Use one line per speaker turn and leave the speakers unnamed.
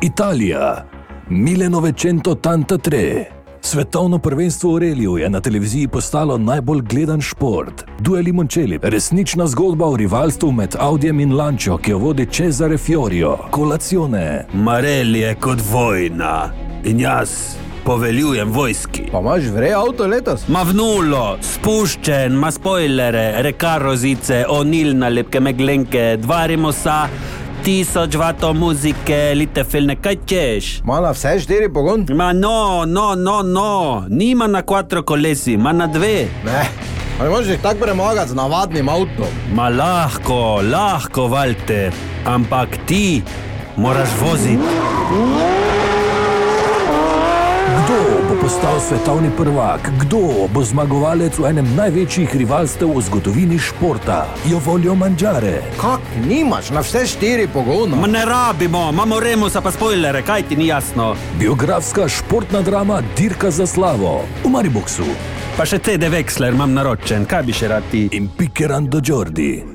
Italija, Mileno Večento Tanta Tre. Svetovno prvenstvo v reliju je na televiziji postalo najbolj gledan šport. Dueli Mončeli, resnična zgodba o rivalstvu med Audijem in Lančo, ki jo vodi Cezare Fiorio, kolacione.
Marel je kot vojna in jaz poveljujem vojski.
Pa imaš vrej avto letos?
Mavnulo, spuščen, ima spoilere, reka rozice, onil nalepke meglenke, dva rimosa, tisoč vatov muzike, lite filne, kaj češ?
Ima na vse štiri pogon?
Ma no, no, no, no, nima na quattro kolesi, ima na dve.
Ne. Ali možeš jih tako premagati z navadnim avtom?
Ma lahko, lahko, Walter, ampak ti moraš voziti.
Kdo bo postal svetovni prvak, kdo bo zmagovalec v enem največjih rivalstev v zgodovini športa? Jo volijo manžare.
Kak nimaš na vse štiri pogona?
Ma ne rabimo, imamo remusa pa spoilere, kaj ti ni jasno.
Biografska športna drama Dirka za slavo v Mariboku
Pa še te deveksler imam naročen, kaj bi še rad ti?
in Pikerando Jordi.